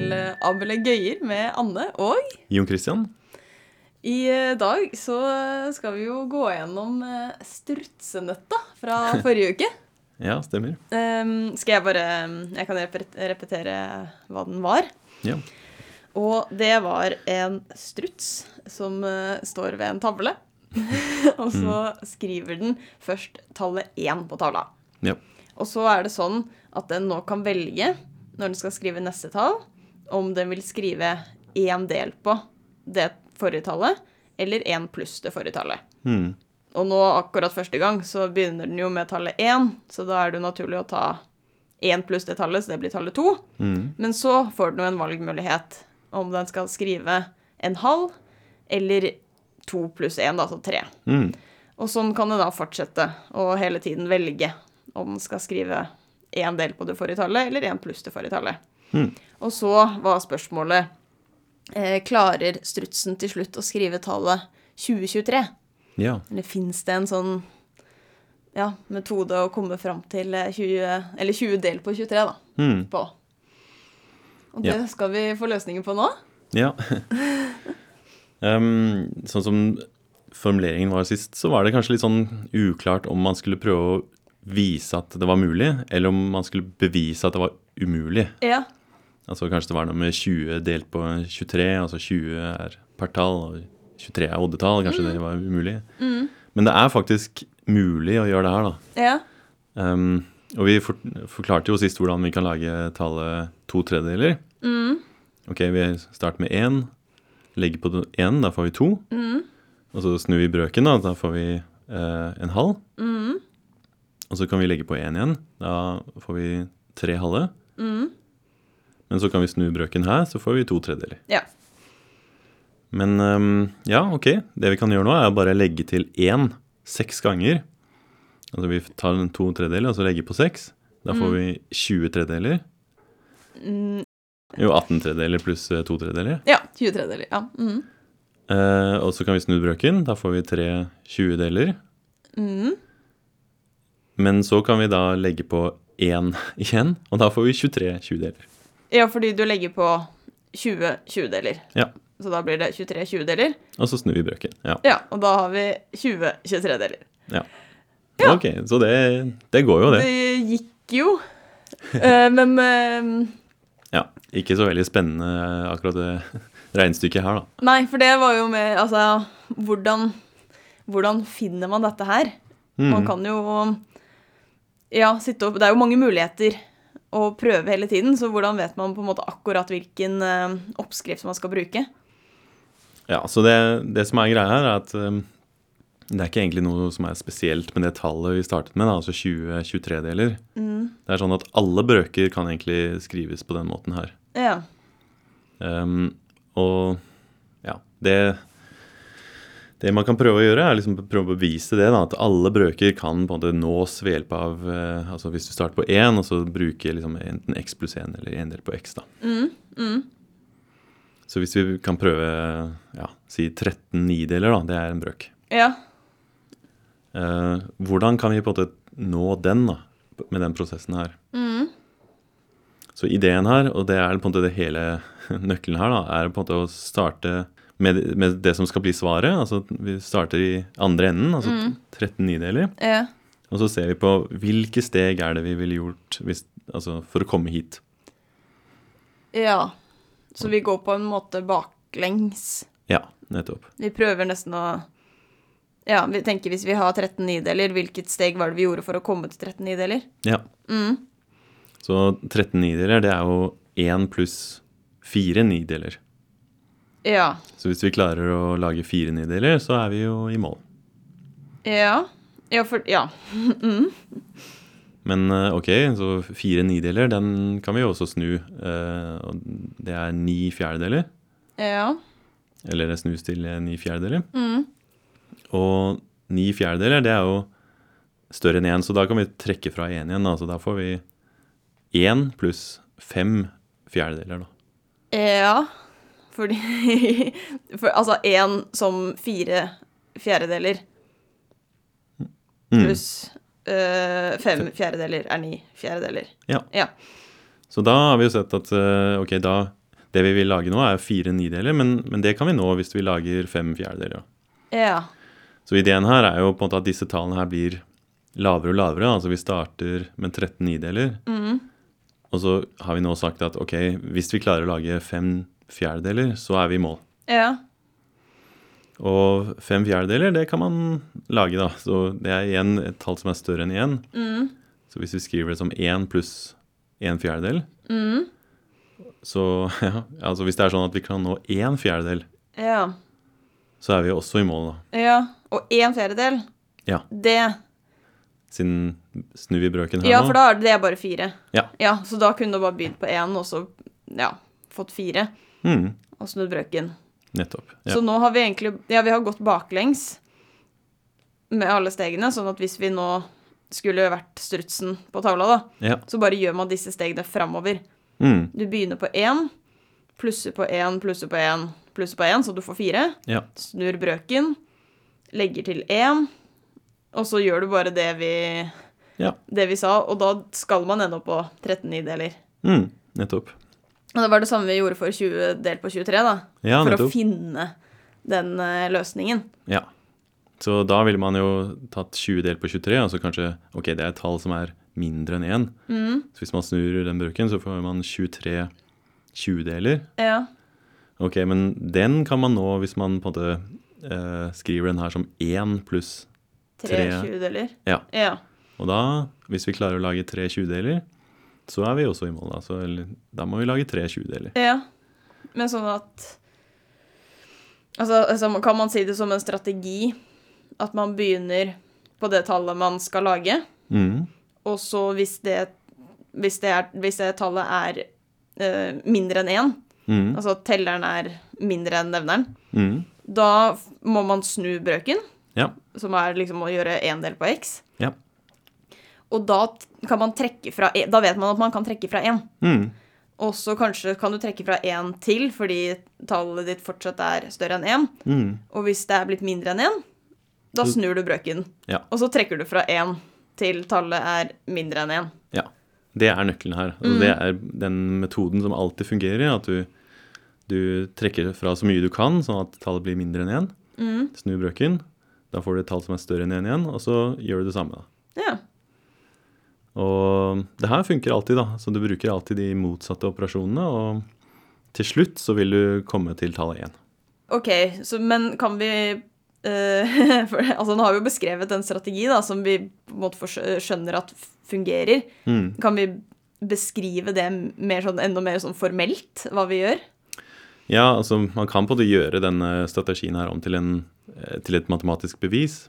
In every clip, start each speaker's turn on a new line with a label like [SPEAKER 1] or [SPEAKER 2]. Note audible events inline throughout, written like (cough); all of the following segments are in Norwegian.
[SPEAKER 1] Fabelaktige gøyer med Anne. Og
[SPEAKER 2] Jon Christian?
[SPEAKER 1] i eh, dag så skal vi jo gå gjennom eh, strutsenøtta fra forrige uke.
[SPEAKER 2] Ja, stemmer.
[SPEAKER 1] Ehm, skal jeg bare Jeg kan repet- repetere hva den var.
[SPEAKER 2] Ja.
[SPEAKER 1] Og det var en struts som eh, står ved en tavle. (laughs) og så skriver den først tallet én på tavla.
[SPEAKER 2] ja.
[SPEAKER 1] Og så er det sånn at den nå kan velge, når den skal skrive neste tall, om den vil skrive én del på det forrige tallet, eller én pluss det forrige tallet.
[SPEAKER 2] Hmm.
[SPEAKER 1] Og nå akkurat første gang så begynner den jo med tallet én, så da er det jo naturlig å ta én pluss det tallet, så det blir tallet to.
[SPEAKER 2] Hmm.
[SPEAKER 1] Men så får den jo en valgmulighet om den skal skrive en halv eller to pluss én, da, altså tre.
[SPEAKER 2] Hmm.
[SPEAKER 1] Og sånn kan det da fortsette å hele tiden velge om den skal skrive én del på det forrige tallet eller én pluss det forrige tallet.
[SPEAKER 2] Hmm.
[SPEAKER 1] Og så var spørsmålet eh, klarer strutsen til slutt å skrive tallet 2023?
[SPEAKER 2] Ja.
[SPEAKER 1] Eller fins det en sånn ja, metode å komme fram til eh, 20, eller 20 del på 23, da?
[SPEAKER 2] Hmm.
[SPEAKER 1] På. Og det skal vi få løsninger på nå.
[SPEAKER 2] ja. (laughs) um, sånn som formuleringen var sist, så var det kanskje litt sånn uklart om man skulle prøve å vise at det var mulig, eller om man skulle bevise at det var umulig.
[SPEAKER 1] Ja.
[SPEAKER 2] Altså Kanskje det var noe med 20 delt på 23, altså 20 er partall og 23 er oddetall. Kanskje det var umulig. Men det er faktisk mulig å gjøre det her, da.
[SPEAKER 1] ja.
[SPEAKER 2] Um, og vi for forklarte jo sist hvordan vi kan lage tallet to tredjedeler. Ok, vi starter med én, legger på én, da får vi to. Og så snur vi brøken, da, da får vi eh, en halv. Og så kan vi legge på én igjen, da får vi tre halve. Men så kan vi snu brøken her, så får vi to tredjedeler.
[SPEAKER 1] Ja.
[SPEAKER 2] Men ehm, ja, ok. Det vi kan gjøre nå, er å bare legge til én seks ganger. Altså vi tar en to tredjedeler og så legger på seks. Da får vi 20 tredjedeler.
[SPEAKER 1] Mm,
[SPEAKER 2] Jo, 18 tredjedeler pluss eh, to tredjedeler.
[SPEAKER 1] ja. 20 tredjedeler. Ja. Mm.
[SPEAKER 2] Eh, og så kan vi snu brøken. Da får vi tre 20-deler.
[SPEAKER 1] Mm.
[SPEAKER 2] Men så kan vi da legge på én (laughs) igjen, og da får vi 23 20-deler.
[SPEAKER 1] Ja, fordi du legger på 20 20-deler.
[SPEAKER 2] Ja.
[SPEAKER 1] Så da blir det 23 20-deler.
[SPEAKER 2] Og så snur vi brøken. Ja.
[SPEAKER 1] Ja, og da har vi 20 23-deler.
[SPEAKER 2] ja.
[SPEAKER 1] Ja.
[SPEAKER 2] Ok, så det, det går jo, det.
[SPEAKER 1] Det gikk jo. Eh, Men eh,
[SPEAKER 2] Ja. Ikke så veldig spennende eh, akkurat det (laughs) regnestykket her, da.
[SPEAKER 1] Nei, for det var jo med Altså, hvordan, hvordan finner man dette her?
[SPEAKER 2] Mm.
[SPEAKER 1] Man kan jo Ja, sitte opp Det er jo mange muligheter å prøve hele tiden, så hvordan vet man på en måte akkurat hvilken eh, oppskrift man skal bruke?
[SPEAKER 2] Ja, så det, det som er greia her, er at um, det er ikke egentlig noe som er spesielt med det tallet vi startet med, da, altså 20-23-deler. Det er sånn at alle brøker kan egentlig skrives på den måten her.
[SPEAKER 1] Ja.
[SPEAKER 2] Um, og ja, det det man kan prøve å gjøre, er liksom prøve å bevise det. da, At alle brøker kan på en måte nås ved hjelp av eh, altså Hvis du starter på én, og så bruker liksom enten x pluss én eller en del på x. da. Så hvis vi kan prøve ja, si 13 nideler, da, det er en brøk.
[SPEAKER 1] Ja.
[SPEAKER 2] Eh, hvordan kan vi på en måte nå den da, med den prosessen her?
[SPEAKER 1] Mm.
[SPEAKER 2] Så ideen her, og det er på en måte det hele (laughs) nøkkelen her, da, er på en måte å starte med, med det som skal bli svaret. Altså vi starter i andre enden, altså 13 nideler.
[SPEAKER 1] Ja.
[SPEAKER 2] Og så ser vi på hvilke steg er det vi ville gjort hvis, altså, for å komme hit.
[SPEAKER 1] ja. Så vi går på en måte baklengs.
[SPEAKER 2] Ja, nettopp.
[SPEAKER 1] Vi prøver nesten å Ja, vi tenker hvis vi har 13 nideler, hvilket steg var det vi gjorde for å komme til 13 nideler?
[SPEAKER 2] Ja. Mm. Så 13 nideler, det er jo 1 pluss 4 nideler.
[SPEAKER 1] Ja.
[SPEAKER 2] Så hvis vi klarer å lage fire nideler, så er vi jo i mål.
[SPEAKER 1] Ja. Ja, for Ja.
[SPEAKER 2] Men eh, ok, så fire nideler, den kan vi jo også snu. eh, og Det er ni fjerdedeler,
[SPEAKER 1] Ja.
[SPEAKER 2] eller det snus til eh, ni fjerdedeler. Og ni fjerdedeler, det er jo større enn én, så da kan vi trekke fra én igjen. da, Så da får vi én pluss fem fjerdedeler, da.
[SPEAKER 1] Ja. Fordi (laughs) for, Altså én som fire fjerdedeler
[SPEAKER 2] Mm.
[SPEAKER 1] pluss øh, fem fjerdedeler er ni fjerdedeler.
[SPEAKER 2] Ja.
[SPEAKER 1] Ja.
[SPEAKER 2] Så da har vi jo sett at eh, ok, da Det vi vil lage nå, er fire nideler, men, men det kan vi nå hvis vi lager fem fjerdedeler. Ja.
[SPEAKER 1] Ja.
[SPEAKER 2] Så ideen her er jo på en måte at disse tallene her blir lavere og lavere. Altså vi starter med 13 nideler,
[SPEAKER 1] Mm.
[SPEAKER 2] og så har vi nå sagt at ok, hvis vi klarer å lage fem fjerdedeler, så er vi i mål.
[SPEAKER 1] ja.
[SPEAKER 2] Og fem fjerdedeler, det kan man lage, da. Så det er igjen et tall som er større enn én.
[SPEAKER 1] Mm.
[SPEAKER 2] Så hvis vi skriver det som én pluss én fjerdedel,
[SPEAKER 1] Mm.
[SPEAKER 2] så (laughs) ja, altså hvis det er sånn at vi kan nå én fjerdedel,
[SPEAKER 1] Ja.
[SPEAKER 2] så er vi også i mål, da.
[SPEAKER 1] ja. Og en fjerdedel,
[SPEAKER 2] Ja,
[SPEAKER 1] det
[SPEAKER 2] siden snur vi brøken her
[SPEAKER 1] Ja,
[SPEAKER 2] nå.
[SPEAKER 1] for da er det bare fire.
[SPEAKER 2] Ja.
[SPEAKER 1] ja så da kunne du bare begynt på én, og så ja, fått fire,
[SPEAKER 2] Mm,
[SPEAKER 1] og snudd brøken.
[SPEAKER 2] nettopp. Ja.
[SPEAKER 1] Så nå har vi egentlig Ja, vi har gått baklengs med alle stegene, sånn at hvis vi nå skulle vært strutsen på tavla, da,
[SPEAKER 2] ja.
[SPEAKER 1] så bare gjør man disse stegene framover.
[SPEAKER 2] Mm,
[SPEAKER 1] Du begynner på én, plusser på én, plusser på én, plusser på én, så du får fire.
[SPEAKER 2] ja.
[SPEAKER 1] Snur brøken, legger til én, og så gjør du bare det vi,
[SPEAKER 2] Ja.
[SPEAKER 1] det vi sa, og da skal man ende opp på 13 nideler.
[SPEAKER 2] Mm, nettopp.
[SPEAKER 1] Og det var det samme vi gjorde for 20 delt på 23, da.
[SPEAKER 2] Ja,
[SPEAKER 1] for å
[SPEAKER 2] nettopp.
[SPEAKER 1] finne den eh, løsningen.
[SPEAKER 2] Ja. Så da ville man jo tatt 20 delt på 23, altså kanskje Ok, det er et tall som er mindre enn 1.
[SPEAKER 1] Mm.
[SPEAKER 2] Så hvis man snur den brøken, så får man 23 20-deler.
[SPEAKER 1] Ja.
[SPEAKER 2] Ok, men den kan man nå hvis man på en måte eh, skriver den her som 1 pluss
[SPEAKER 1] Tre
[SPEAKER 2] Tre.
[SPEAKER 1] tjuedeler.
[SPEAKER 2] Ja.
[SPEAKER 1] Ja.
[SPEAKER 2] Og da, hvis vi klarer å lage tre 20-deler, så er vi også i mål. da. Så, eller, da må vi lage tre 20-deler.
[SPEAKER 1] ja. Men sånn at altså, altså, man- kan man si det som en strategi? At man begynner på det tallet man skal lage,
[SPEAKER 2] Mm.
[SPEAKER 1] og så hvis det, hvis det, er, hvis det tallet er eh, mindre enn én,
[SPEAKER 2] Mm.
[SPEAKER 1] altså at telleren er mindre enn nevneren,
[SPEAKER 2] Mm.
[SPEAKER 1] da f- må man snu brøken,
[SPEAKER 2] Ja.
[SPEAKER 1] som er liksom å gjøre én del på x,
[SPEAKER 2] Ja.
[SPEAKER 1] og da t- kan man trekke fra en- Da vet man at man kan trekke fra én.
[SPEAKER 2] Mm.
[SPEAKER 1] Og så kanskje kan du trekke fra én til, fordi tallet ditt fortsatt er større enn én.
[SPEAKER 2] Mm.
[SPEAKER 1] Og hvis det er blitt mindre enn én, da
[SPEAKER 2] Så-
[SPEAKER 1] snur du brøken.
[SPEAKER 2] Ja.
[SPEAKER 1] Og så trekker du fra én til tallet er mindre enn én.
[SPEAKER 2] Ja. Det er nøkkelen her. Og det er den metoden som alltid fungerer. At du, du trekker fra så mye du kan, sånn at tallet blir mindre enn én. Snur brøken. Da får du et tall som er større enn én igjen, og så gjør du det samme. da.
[SPEAKER 1] Ja.
[SPEAKER 2] Og det her funker alltid, da. Så du bruker alltid de motsatte operasjonene. Og til slutt så vil du komme til tallet én.
[SPEAKER 1] OK, så, men kan vi eh, (laughs) for, altså, Nå har vi jo beskrevet en strategi da, som vi på en måte forsø- skjønner at fungerer.
[SPEAKER 2] Mm.
[SPEAKER 1] Kan vi beskrive det mer sånn, enda mer sånn formelt, hva vi gjør?
[SPEAKER 2] Ja, altså man kan på en måte gjøre denne strategien her om til, en, eh, til et matematisk bevis.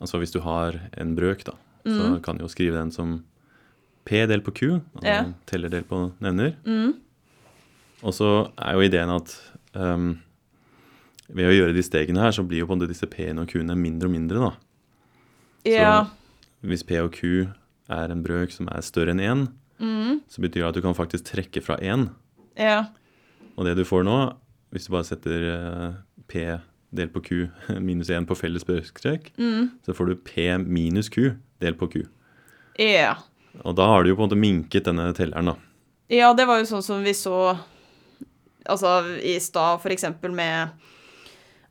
[SPEAKER 2] Altså hvis du har en brøk, da, så kan du jo skrive den som P del på Q, altså
[SPEAKER 1] Ja.
[SPEAKER 2] teller del på nevner. Og så er jo ideen at ehm, ved å gjøre de stegene her, så blir jo på en måte disse P-ene og Q-ene mindre og mindre, da.
[SPEAKER 1] Ja.
[SPEAKER 2] Hvis P og Q er en brøk som er større enn 1, så betyr det at du kan faktisk trekke fra 1.
[SPEAKER 1] ja.
[SPEAKER 2] Og det du får nå, hvis du bare setter eh, P delt på Q (laughs) minus 1 på felles brøkstrek, så får du P minus Q delt på Q.
[SPEAKER 1] Ja.
[SPEAKER 2] Og da har du jo på en måte minket denne telleren, da.
[SPEAKER 1] Ja, det var jo sånn som vi så Altså i stad, for eksempel med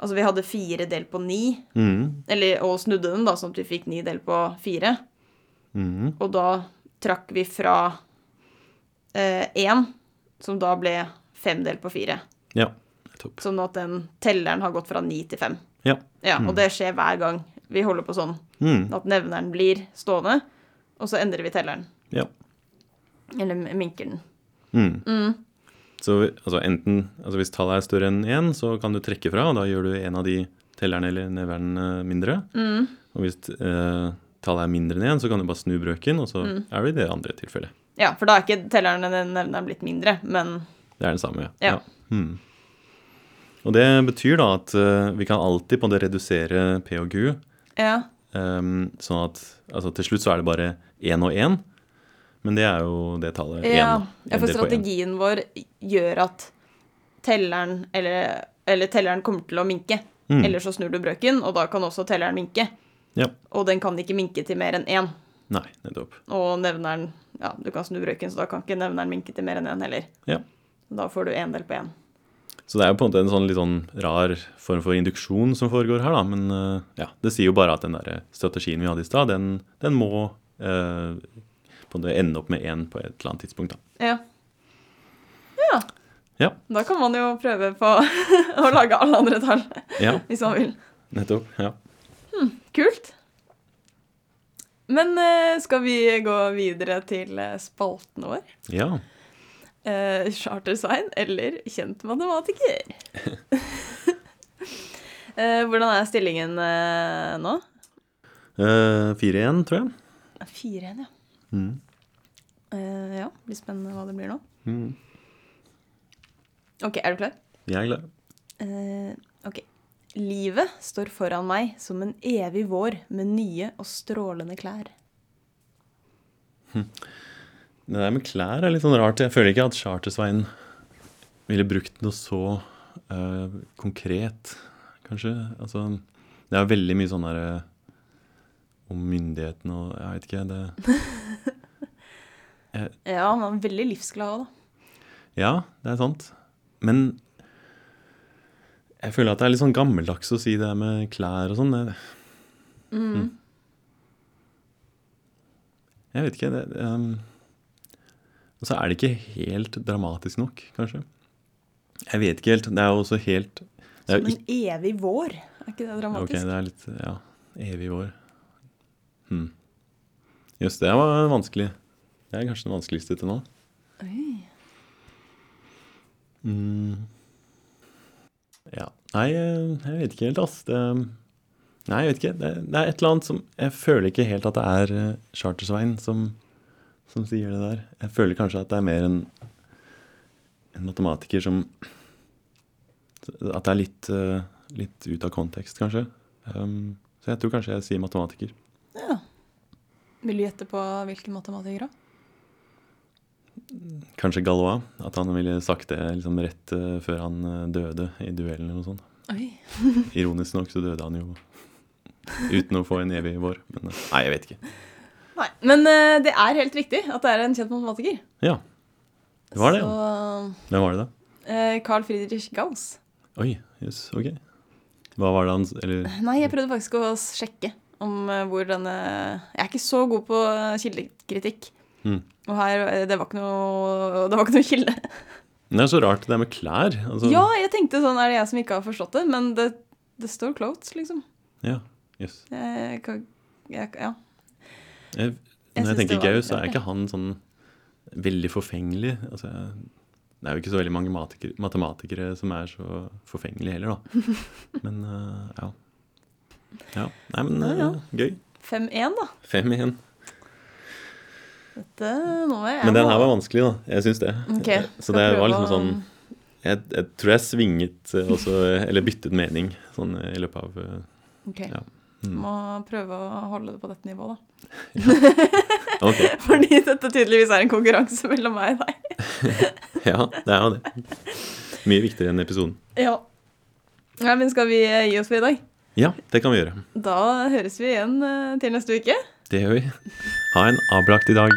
[SPEAKER 1] Altså vi hadde fire delt på ni,
[SPEAKER 2] Mhm,
[SPEAKER 1] eller, og snudde den, da, sånn at vi fikk ni delt på fire.
[SPEAKER 2] mhm,
[SPEAKER 1] Og da trakk vi fra eh, én, som da ble fem delt på fire.
[SPEAKER 2] Ja. Topp.
[SPEAKER 1] Sånn at den telleren har gått fra ni til fem.
[SPEAKER 2] Ja.
[SPEAKER 1] Ja, Og det skjer hver gang vi holder på sånn.
[SPEAKER 2] mhm,
[SPEAKER 1] At nevneren blir stående, og så endrer vi telleren.
[SPEAKER 2] ja.
[SPEAKER 1] Eller minker den.
[SPEAKER 2] mhm. Så altså, enten, altså hvis tallet er større enn 1, så kan du trekke fra, og da gjør du en av de tellerne eller neverne mindre.
[SPEAKER 1] Mm.
[SPEAKER 2] Og hvis eh, tallet er mindre enn 1, så kan du bare snu brøken, og så er du i det andre tilfellet.
[SPEAKER 1] Ja, for da er ikke telleren eller nevneren blitt mindre, men
[SPEAKER 2] Det er den samme, ja.
[SPEAKER 1] Ja.
[SPEAKER 2] Mm. Og det betyr da at eh, vi kan alltid på det redusere P og Q,
[SPEAKER 1] Ja.
[SPEAKER 2] ehm, sånn at altså, til slutt så er det bare én og én, men det er jo det tallet én.
[SPEAKER 1] Ja.
[SPEAKER 2] da. En
[SPEAKER 1] ja, for
[SPEAKER 2] del på én.
[SPEAKER 1] strategien vår gjør at telleren eller, eller telleren kommer til å minke.
[SPEAKER 2] Mm.
[SPEAKER 1] Eller så snur du brøken, og da kan også telleren minke.
[SPEAKER 2] Ja.
[SPEAKER 1] Og den kan ikke minke til mer enn én.
[SPEAKER 2] Nei, nettopp.
[SPEAKER 1] Og nevneren Ja, du kan snu brøken, så da kan ikke nevneren minke til mer enn én heller.
[SPEAKER 2] Ja.
[SPEAKER 1] Da får du én del på én.
[SPEAKER 2] Så det er jo på en måte en sånn litt sånn rar form for induksjon som foregår her, da. Men eh, ja, det sier jo bare at den der eh, strategien vi hadde i stad, den, den må eh, på en måte ende opp med én på et eller annet tidspunkt, da.
[SPEAKER 1] Ja. ja.
[SPEAKER 2] Ja.
[SPEAKER 1] Da kan man jo prøve på (laughs) å lage alle andre tall,
[SPEAKER 2] Ja,
[SPEAKER 1] hvis man vil.
[SPEAKER 2] nettopp. Ja.
[SPEAKER 1] Kult. Men eh, skal vi gå videre til eh, spalten vår?
[SPEAKER 2] ja.
[SPEAKER 1] Eh, chartersign eller kjent matematiker? (laughs) eh, hvordan er stillingen eh, nå?
[SPEAKER 2] Eh, Fire igjen, tror jeg.
[SPEAKER 1] 4-1, ja.
[SPEAKER 2] Mm.
[SPEAKER 1] Eh, ja. Blir spennende hva det blir nå.
[SPEAKER 2] Mm.
[SPEAKER 1] OK, er du klar?
[SPEAKER 2] Jeg er glad.
[SPEAKER 1] Eh, ok. Livet står foran meg som en evig vår med nye og strålende klær.
[SPEAKER 2] Det der med klær er litt sånn rart. Jeg føler ikke at Chartersveien ville brukt noe så eh, konkret, kanskje. Altså, det er veldig mye sånn der eh, om myndighetene og Jeg vet ikke, det
[SPEAKER 1] Ja, han var veldig livsglad òg, da.
[SPEAKER 2] Ja, det er sant. Men jeg føler at det er litt sånn gammeldags å si det her med klær og sånn. Det- Mm. Jeg vet ikke. Det, ehm, og så er det ikke helt dramatisk nok, kanskje. Jeg vet ikke helt. Det er jo også helt det er
[SPEAKER 1] Som
[SPEAKER 2] jo
[SPEAKER 1] en evig vår. Er ikke det
[SPEAKER 2] Ok,
[SPEAKER 1] dramatisk?
[SPEAKER 2] det er litt ja, evig vår. Hmm. Jøss, det var vanskelig. Det er kanskje den vanskeligste til nå.
[SPEAKER 1] Oi.
[SPEAKER 2] Mm. Ja. Nei, eh, jeg vet ikke helt, ass. Det, nei, jeg vet ikke. Det, det er et eller annet som Jeg føler ikke helt at det er eh, Chartersveien som, som sier det der. Jeg føler kanskje at det er mer en, en matematiker som At det er litt, eh, litt ut av kontekst, kanskje. Um, så jeg tror kanskje jeg sier matematiker.
[SPEAKER 1] Ja. Vil du gjette på hvilken matematiker, da?
[SPEAKER 2] Kanskje Galois. At han ville sagt det liksom rett eh, før han eh, døde i duellen eller noe sånt.
[SPEAKER 1] Oi.
[SPEAKER 2] Ironisk nok så døde han jo uten å få en evig vår. Men eh, nei, jeg vet ikke.
[SPEAKER 1] Nei. Men eh, det er helt riktig at det er en kjent matematiker.
[SPEAKER 2] Ja. Det var det,
[SPEAKER 1] Så
[SPEAKER 2] ja. Hvem var det, da?
[SPEAKER 1] eh, Carl Friedrich Gauss.
[SPEAKER 2] Oi, jøss, ok. Hva var det han s- Eller
[SPEAKER 1] Nei, jeg prøvde faktisk å sjekke om eh, hvor denne Jeg er ikke så god på eh, kildekritikk.
[SPEAKER 2] Mm.
[SPEAKER 1] Og her eh, Det var ikke noe, det var ikke noe kilde.
[SPEAKER 2] Men Det er så rart, det der med klær. Altså,
[SPEAKER 1] Ja, jeg tenkte sånn Er det jeg som ikke har forstått det? Men det, det står clothes, liksom.
[SPEAKER 2] Ja, jøss.
[SPEAKER 1] Jeg, kan- jeg, ja. Jeg
[SPEAKER 2] Jeg- Når jeg
[SPEAKER 1] synes det
[SPEAKER 2] tenker
[SPEAKER 1] var
[SPEAKER 2] Gaus, så er
[SPEAKER 1] rart,
[SPEAKER 2] ikke han sånn veldig forfengelig. Altså, jeg- det er jo ikke så veldig mange matematiker- matematikere som er så forfengelige heller, da. Men eh, ja. Ja, Nei, men
[SPEAKER 1] Ja, ja.
[SPEAKER 2] eh, gøy.
[SPEAKER 1] 5-1, da.
[SPEAKER 2] Fem igjen.
[SPEAKER 1] Dette nå er jeg
[SPEAKER 2] Men den her var vanskelig, da. Jeg syns det.
[SPEAKER 1] Ok,
[SPEAKER 2] så
[SPEAKER 1] skal
[SPEAKER 2] det
[SPEAKER 1] prøve
[SPEAKER 2] var liksom
[SPEAKER 1] å-
[SPEAKER 2] sånn jeg, jeg tror jeg svinget eh, også, eller byttet mening sånn eh, i løpet av eh,
[SPEAKER 1] Ok.
[SPEAKER 2] Ja. Mm.
[SPEAKER 1] Må prøve å holde det på dette nivået, da. (laughs)
[SPEAKER 2] Ok,
[SPEAKER 1] Fordi dette tydeligvis er en konkurranse mellom meg og deg.
[SPEAKER 2] ja, det er jo det. Mye viktigere enn episoden.
[SPEAKER 1] Ja. Nei, men skal vi eh, gi oss for i dag?
[SPEAKER 2] Ja, det kan vi gjøre.
[SPEAKER 1] Da høres vi igjen eh, til neste uke.
[SPEAKER 2] Det gjør vi. Ha en abelaktig dag.